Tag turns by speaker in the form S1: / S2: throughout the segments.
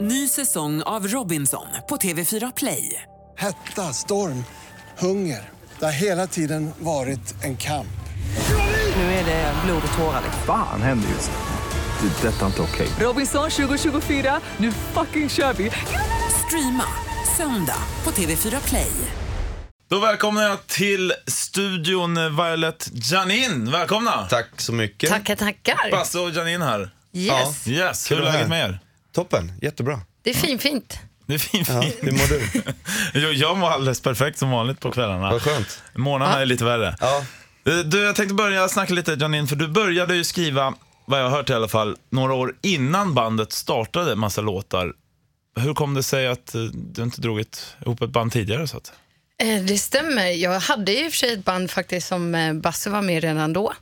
S1: Ny säsong av Robinson på TV4 Play.
S2: Hetta, storm, hunger. Det har hela tiden varit en kamp.
S1: Nu är det blod och tårar. liksom.
S3: Fan händer just nu. Det. är Detta är inte okej.
S1: Robinson 2024, nu fucking kör vi! Streama söndag på TV4 Play.
S4: Då välkomnar jag till studion Violet Janin. Välkomna!
S5: Tack så mycket.
S6: Tackar, tackar.
S4: Basse och Janin här.
S6: Yes,
S4: Yes, hur är
S5: Kul att
S4: läget
S5: vara
S4: med
S5: här.
S4: er?
S5: Toppen, jättebra.
S6: det är finfint.
S4: Det är fint.
S5: Ja,
S4: fint.
S5: hur mår du?
S4: Jag, jag mår alldeles perfekt som vanligt på kvällarna.
S5: Vad skönt.
S4: Morgnarna är lite värre.
S5: Ja.
S4: Eh, Du, jag tänkte börja snacka lite Janin, för du började ju skriva, vad jag har hört i alla fall, några år innan bandet startade massa låtar. Hur kom det sig att eh, du inte drog ett, ihop ett band tidigare? Så att?
S6: Eh, Det stämmer. Jag hade i och för sig ett band faktiskt som eh, Basse var med i redan då.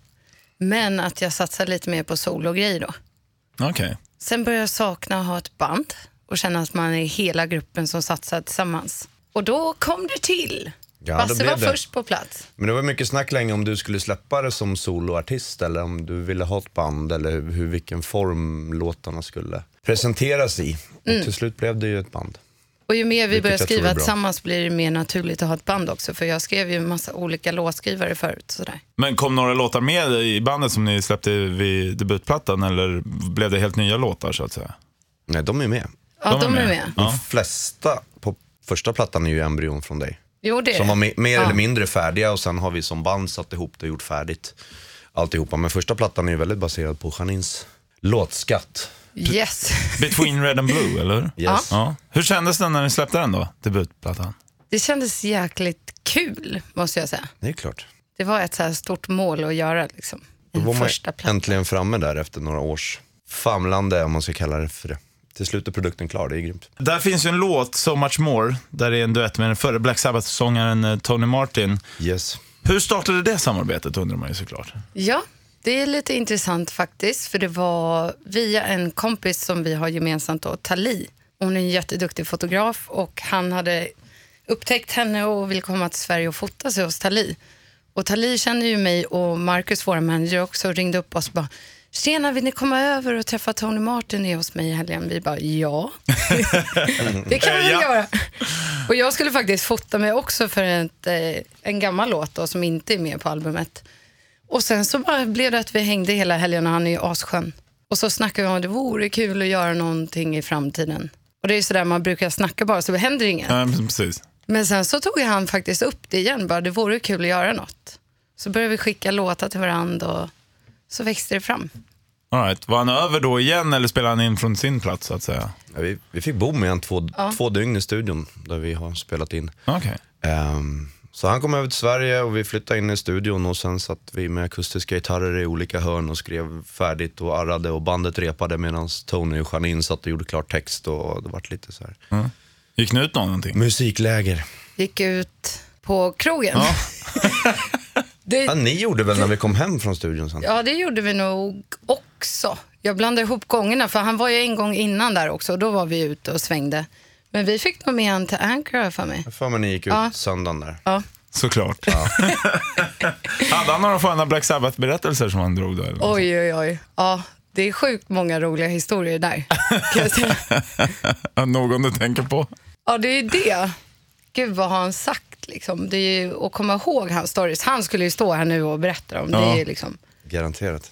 S6: Men att jag satsade lite mer på sologrejer då.
S4: Okej.
S6: Sen började jag sakna att ha ett band och känna att man är hela gruppen som satsar tillsammans. Och då kom du till.
S5: Ja, då
S6: Basse
S5: blev
S6: var
S5: det.
S6: först på plats.
S5: Men det var mycket snack länge om du skulle släppa det som soloartist eller om du ville ha ett band eller hur, hur- vilken form låtarna skulle presenteras i.
S6: Mm.
S5: Och till slut blev det ju ett band.
S6: Och ju mer vi
S5: Vilket
S6: börjar
S5: jag tror är
S6: skriva
S5: bra.
S6: tillsammans blir det mer naturligt att ha ett band också. För jag skrev ju en massa olika låtskrivare förut. Sådär.
S4: Men kom några låtar med i bandet som ni släppte vid debutplattan eller blev det helt nya låtar så att säga?
S5: Nej, de är ju med.
S6: Ja, de är med.
S5: De
S4: Ja.
S5: flesta på första plattan är ju embryon från dig.
S6: Jo, det är
S5: Som
S6: det.
S5: var me- mer
S6: Ja.
S5: eller mindre färdiga och sen har vi som band satt ihop det och gjort färdigt alltihopa. Men första plattan är ju väldigt baserad på Janins låtskatt.
S6: Yes.
S4: Between Red and Blue, eller hur?
S5: Yes.
S4: Ja. Hur kändes den när ni släppte den då, debutplattan?
S6: Det kändes jäkligt kul, måste jag säga.
S5: Det är klart.
S6: Det var ett så här stort mål att göra. Liksom.
S5: Då var
S6: En
S5: man
S6: första platta.
S5: äntligen framme där efter några års famlande, om man ska kalla det för det. Till slut är produkten klar, det är grymt.
S4: Där finns ju en låt, So Much More, där det är en duett med den förre Black Sabbath-sångaren eh, Tony Martin.
S5: Yes.
S4: Hur startade det samarbetet undrar man ju såklart.
S6: Ja, det är lite intressant faktiskt. För det var via en kompis som vi har gemensamt, då, Tali. Hon är en jätteduktig fotograf och han hade upptäckt henne och ville komma till Sverige och fota sig hos Tali. Och Tali känner ju mig och Marcus, vår manager också, och ringde upp oss och bara Tjena, vill ni komma över och träffa Tony Martin är hos mig i helgen? Vi bara, ja. det kan vi väl
S4: Ja.
S6: göra. Och jag skulle faktiskt fota mig också för ett, eh, en gammal låt då, som inte är med på albumet. Och sen så bara blev det att vi hängde hela helgen och han är ju asskön. Och så snackade vi om att det vore kul att göra någonting i framtiden. Och det är ju sådär man brukar snacka bara så det händer inget.
S4: Ja, men precis.
S6: Men sen så tog han faktiskt upp det igen, bara det vore kul att göra något. Så började vi skicka låtar till varandra och så växte det fram.
S4: All right. Var han över då igen eller spelade han in från sin plats så att säga?
S5: Ja, vi, vi fick bo med en två, två dygn i studion där vi har spelat in.
S4: Okej.
S5: Ehm, så han kom över till Sverige och vi flyttade in i studion och sen satt vi med akustiska gitarrer i olika hörn och skrev färdigt och arrade och bandet repade medan Tony och Janine satt och gjorde klart text och det vart lite så här.
S4: Gick ni ut någonting?
S5: Mm. Musikläger.
S6: Gick ut på krogen. Ja,
S5: Ja,
S6: det,
S5: ni gjorde väl när vi kom hem från studion sen?
S6: ja det gjorde vi nog också. Jag blandade ihop gångerna, för han var ju en gång innan där också och då var vi ute och svängde. Men vi fick nog med han till Anchor har jag för mig.
S5: Jag för mig ni gick ut
S6: Ja.
S5: söndagen där.
S6: Ja.
S4: Såklart. Hade han några sköna Black Sabbath-berättelser som han drog då? Eller? något sånt?
S6: Oj, oj, oj. Ja, det är sjukt många roliga historier där. kan jag säga.
S4: Någon du tänker på?
S6: Ja, det är ju det. Gud, vad har han sagt? Liksom. Det är ju att komma ihåg hans stories. Han skulle ju stå här nu och berätta om det.
S4: Ja.
S6: Är ju liksom,
S5: Garanterat.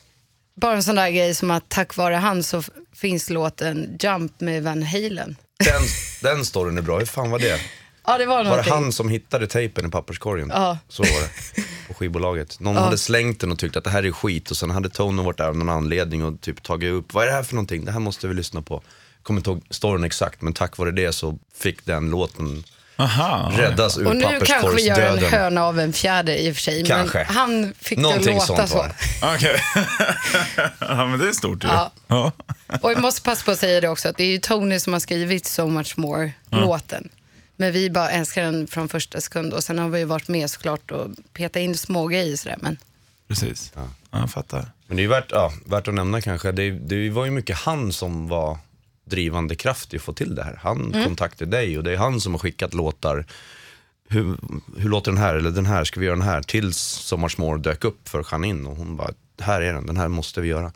S6: bara en sån där grej som att tack vare han så f- finns låten Jump med Van Halen.
S5: Den, den storyn är bra, hur fan var det?
S6: Ja, det var
S5: Var det
S6: någonting.
S5: han som hittade tejpen i papperskorgen?
S6: Ja.
S5: Så var det. På skivbolaget. Någon hade slängt den och tyckt att det här är skit och sen hade Tony varit där av någon anledning och typ tagit upp, vad är det här för någonting? Det här måste vi lyssna på. Kommer inte ihåg storyn exakt men tack vare det så fick den låten
S4: Aha.
S5: räddas ur
S6: Och nu kanske vi gör en
S5: papperskorgsdöden.
S6: höna av en fjäder i och för sig.
S5: Kanske.
S6: Men han fick det
S5: Någonting
S6: att låta
S5: sånt
S6: så.
S5: var
S4: Okej. ja, men det är stort ju.
S6: Ja.
S4: Ja.
S6: Och jag måste passa på att säga det också, att det är ju Tony som har skrivit So Much More-låten. Men vi bara älskar den från första sekund och sen har vi ju varit med såklart och petat in små grejer sådär. Men
S4: Precis. Ja. jag fattar.
S5: Men det är ju värt, ja, värt att nämna kanske, det, det var ju mycket han som var drivande kraft i att få till det här. Han
S6: Mm.
S5: kontaktade dig och det är han som har skickat låtar. Hur, hur låter den här, eller den här, ska vi göra den här? Tills Sommar Smår dök upp för Janine och hon bara, här är den, den här måste vi göra.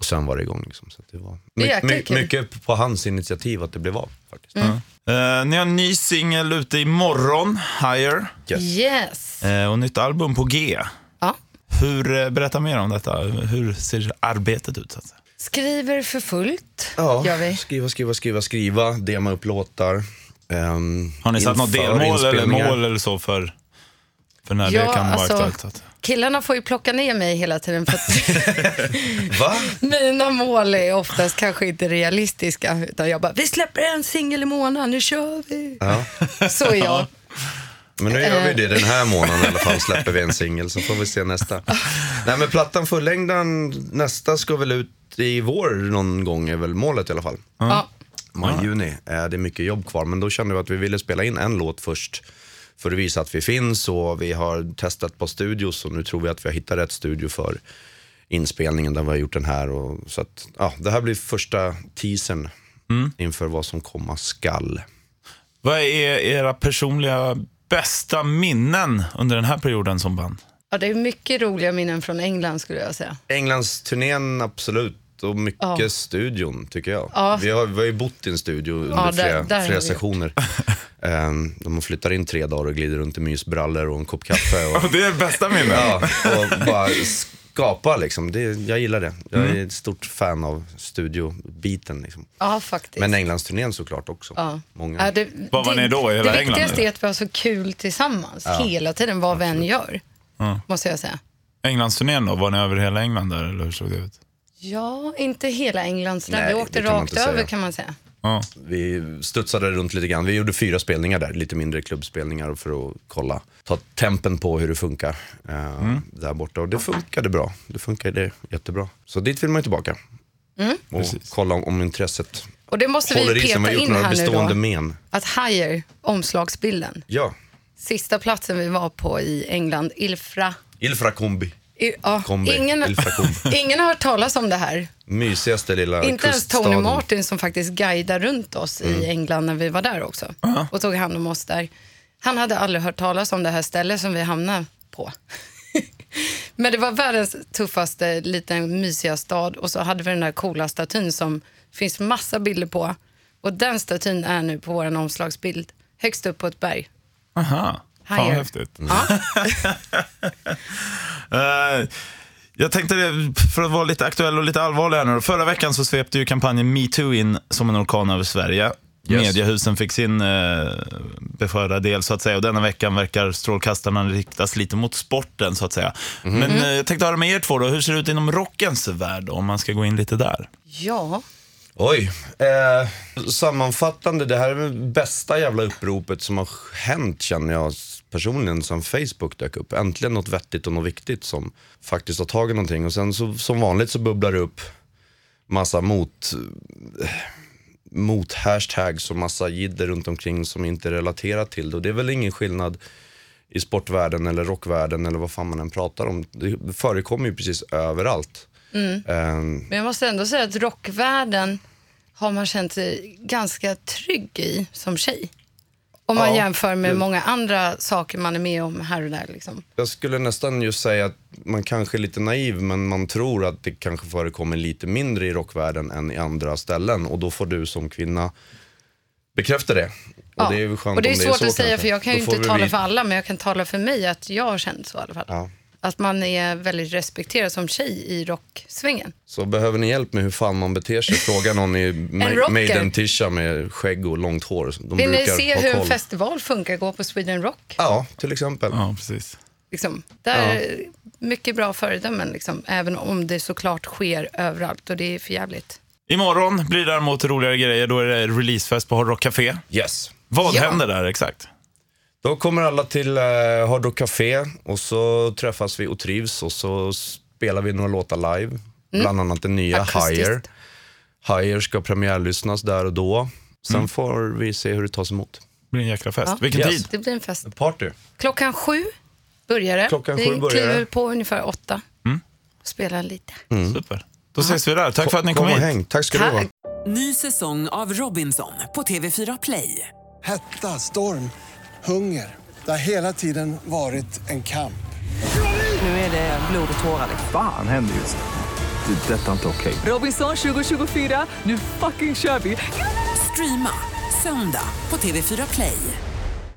S5: Och sen var det igång. Liksom, så att det var
S6: Mm. är
S5: my,
S6: jäkla
S5: my,
S6: kul.
S5: mycket på hans initiativ att det blev av. Faktiskt.
S6: Mm.
S4: Eh, ni har en ny singel ute imorgon, Higher.
S6: Mm.
S5: Yes.
S6: Yes.
S4: Eh, och nytt album på G.
S6: Ja.
S4: Hur, eh, berätta mer om detta. Hur ser arbetet ut? Så att säga?
S6: Skriver för fullt,
S5: Ja,
S6: gör vi.
S5: skriva, skriva, skriva, skriva, dema upp låtar. ehm,
S4: Har ni satt något
S5: inför
S4: delmål eller
S5: inspelningar.
S4: mål eller så för, för när
S6: Ja,
S4: det kan vara
S6: alltså-
S4: aktuellt? så att-
S6: Killarna får ju plocka ner mig hela tiden för att
S5: Va?
S6: mina mål är oftast kanske inte realistiska. Utan jag bara, vi släpper en singel i månaden, nu kör vi.
S5: Ja.
S6: Så är jag.
S5: Men nu gör vi det den här månaden i alla fall, släpper vi en singel, så får vi se nästa. Nej men plattan fullängden, nästa ska väl ut i vår någon gång är väl målet i alla fall.
S6: Ja.
S5: Maj, juni. Eh, Det är mycket jobb kvar, men då kände vi att vi ville spela in en låt först för att visa att vi finns och vi har testat på studios och nu tror vi att vi har hittat rätt studio för inspelningen där vi har gjort den här. Och, så att, ja, det här blir första teasern inför vad som komma skall.
S4: Vad är era personliga bästa minnen under den här perioden som band?
S6: ja, det är mycket roliga minnen från England skulle jag säga.
S5: Englands turnén absolut och mycket
S6: Ja.
S5: studion tycker jag.
S6: Ja.
S5: Vi, har, vi har ju bott i en studio under
S6: Ja, där-
S5: flera,
S6: där har vi
S5: flera
S6: gjort.
S5: sessioner. Ehm, De flyttar in tre dagar och glider runt i mysbrallor och en kopp kaffe. Och,
S4: Det är bästa minnen.
S5: ja, och bara skapa liksom. Det, jag gillar det. Jag
S6: Mm.
S5: är ett stort fan av studiobiten. Liksom.
S6: Ja, faktiskt.
S5: Men Englandsturnén såklart också.
S6: ja.
S5: Många.
S6: Ja, det,
S4: Var var
S6: det-
S4: ni då? I
S6: Det
S4: hela England,
S6: viktigaste
S4: eller?
S6: är att vi har så kul tillsammans hela tiden, vad vi än gör. Måste jag säga.
S4: Englandsturnén då, var ni över hela England där eller hur såg det ut?
S6: Ja, inte hela England. Så där.
S5: Nej,
S6: vi åkte
S5: det kan man
S6: rakt
S5: inte säga.
S6: över kan man säga.
S4: Ja.
S5: Vi studsade runt lite grann. Vi gjorde fyra spelningar där, lite mindre klubbspelningar för att kolla, ta tempen på hur det funkar eh, där borta. Och det funkade bra. Det funkade jättebra. Så dit vill man ju tillbaka. Och kolla om, om intresset
S6: Och det måste
S5: håller
S6: Mm. vi
S5: i sig. Man
S6: peta
S5: har gjort
S6: in
S5: några
S6: här nu då.
S5: bestående men.
S6: Att Higher, omslagsbilden.
S5: Ja,
S6: Sista platsen vi var på i England, Ilfra.
S5: Ilfra Kombi.
S6: I, ja,
S5: Kombi.
S6: ingen,
S5: Ilfra Kombi.
S6: ingen har hört talas om det här.
S5: Mysigaste lilla
S6: Inte ens Tony
S5: kuststaden.
S6: Martin som faktiskt guidade runt oss i England när vi var där också. Och tog hand om oss där. Han hade aldrig hört talas om det här stället som vi hamnade på. Men det var världens tuffaste, liten, mysiga stad. Och så hade vi den där coola statyn som finns massa bilder på. Och den statyn är nu på vår omslagsbild, högst upp på ett berg.
S4: Aha, fan vad
S6: Higher.
S4: häftigt.
S6: Ja.
S4: Eh, jag tänkte det, för att vara lite aktuell och lite allvarlig här nu då. Förra veckan så svepte ju kampanjen MeToo in som en orkan över Sverige.
S5: Yes.
S4: Mediehusen fick sin eh, beskärda del så att säga och denna veckan verkar strålkastarna riktas lite mot sporten så att säga. Men eh, jag tänkte höra med er två då, hur ser det ut inom rockens värld om man ska gå in lite där?
S6: ja.
S5: Oj. Eh, sammanfattande, det här är det bästa jävla uppropet som har hänt känner jag personligen sen Facebook dök upp. Äntligen något vettigt och något viktigt som faktiskt har tagit någonting. Och sen så, som vanligt så bubblar det upp massa mot, eh, mot hashtags och massa jidder runt omkring som inte relaterar till det. Och det är väl ingen skillnad i sportvärlden eller rockvärlden eller vad fan man än pratar om. Det förekommer ju precis överallt. Eh,
S6: Men jag måste ändå säga att rockvärlden har man känt sig ganska trygg i som tjej. Om man
S5: Ja,
S6: jämför med många andra saker man är med om här och där. Liksom.
S5: Jag skulle nästan just säga att man kanske är lite naiv, men man tror att det kanske förekommer lite mindre i rockvärlden än i andra ställen. Och då får du som kvinna bekräfta det. Och
S6: Ja.
S5: det är ju skönt
S6: och det är
S5: om
S6: svårt att
S5: så
S6: säga
S5: kanske.
S6: för jag kan ju
S5: Då
S6: inte
S5: får vi
S6: tala
S5: bli-
S6: för alla men jag kan tala för mig att jag har känt så i alla fall.
S5: Ja.
S6: Att man är väldigt respekterad som tjej i rocksvängen.
S5: Så behöver ni hjälp med hur fan man beter sig, fråga någon i Ma-
S6: rocker.
S5: Maiden-tisha med skägg och långt hår. De
S6: Vill ni
S5: brukar
S6: se
S5: ha
S6: hur en
S5: koll.
S6: festival funkar, gå på Sweden Rock.
S5: Ja, till exempel.
S4: Ja, precis.
S6: Liksom. Där är mycket bra föredömen, liksom. även om det såklart sker överallt och det är för jävligt.
S4: Imorgon blir det däremot roligare grejer, då är det releasefest på Hard Rock Café.
S5: Yes.
S4: Vad
S6: Ja.
S4: händer där exakt?
S5: Då kommer alla till eh, Hard Rock Café och så träffas vi och trivs och så spelar vi några låtar live. Bland annat den nya
S6: Akustiskt.
S5: Higher. Higher ska premiärlyssnas där och då. Sen får vi se hur det tas emot.
S4: Det blir en jäkla fest.
S6: Ja.
S4: Vilken
S5: Yes.
S4: tid?
S6: Det blir en fest.
S5: Party.
S6: Klockan sju börjar det.
S5: Klockan
S6: vi
S5: sju börjar
S6: kliver
S5: det. Mm.
S6: på ungefär åtta. Spelar lite.
S4: Super. Då ses vi där. Tack för att ni kom,
S5: Kom och
S4: hit.
S5: häng. Tack ska du ha.
S6: Tack.
S1: Ny säsong av Robinson på TV4 Play.
S2: Hetta, storm, hunger. Det har hela tiden varit en kamp.
S1: Nu är det blod och tårar. liksom.
S3: Fan händer just nu. Det. är Detta är inte okej.
S1: Robinson 2024, nu fucking kör vi! Streama söndag på TV4 Play.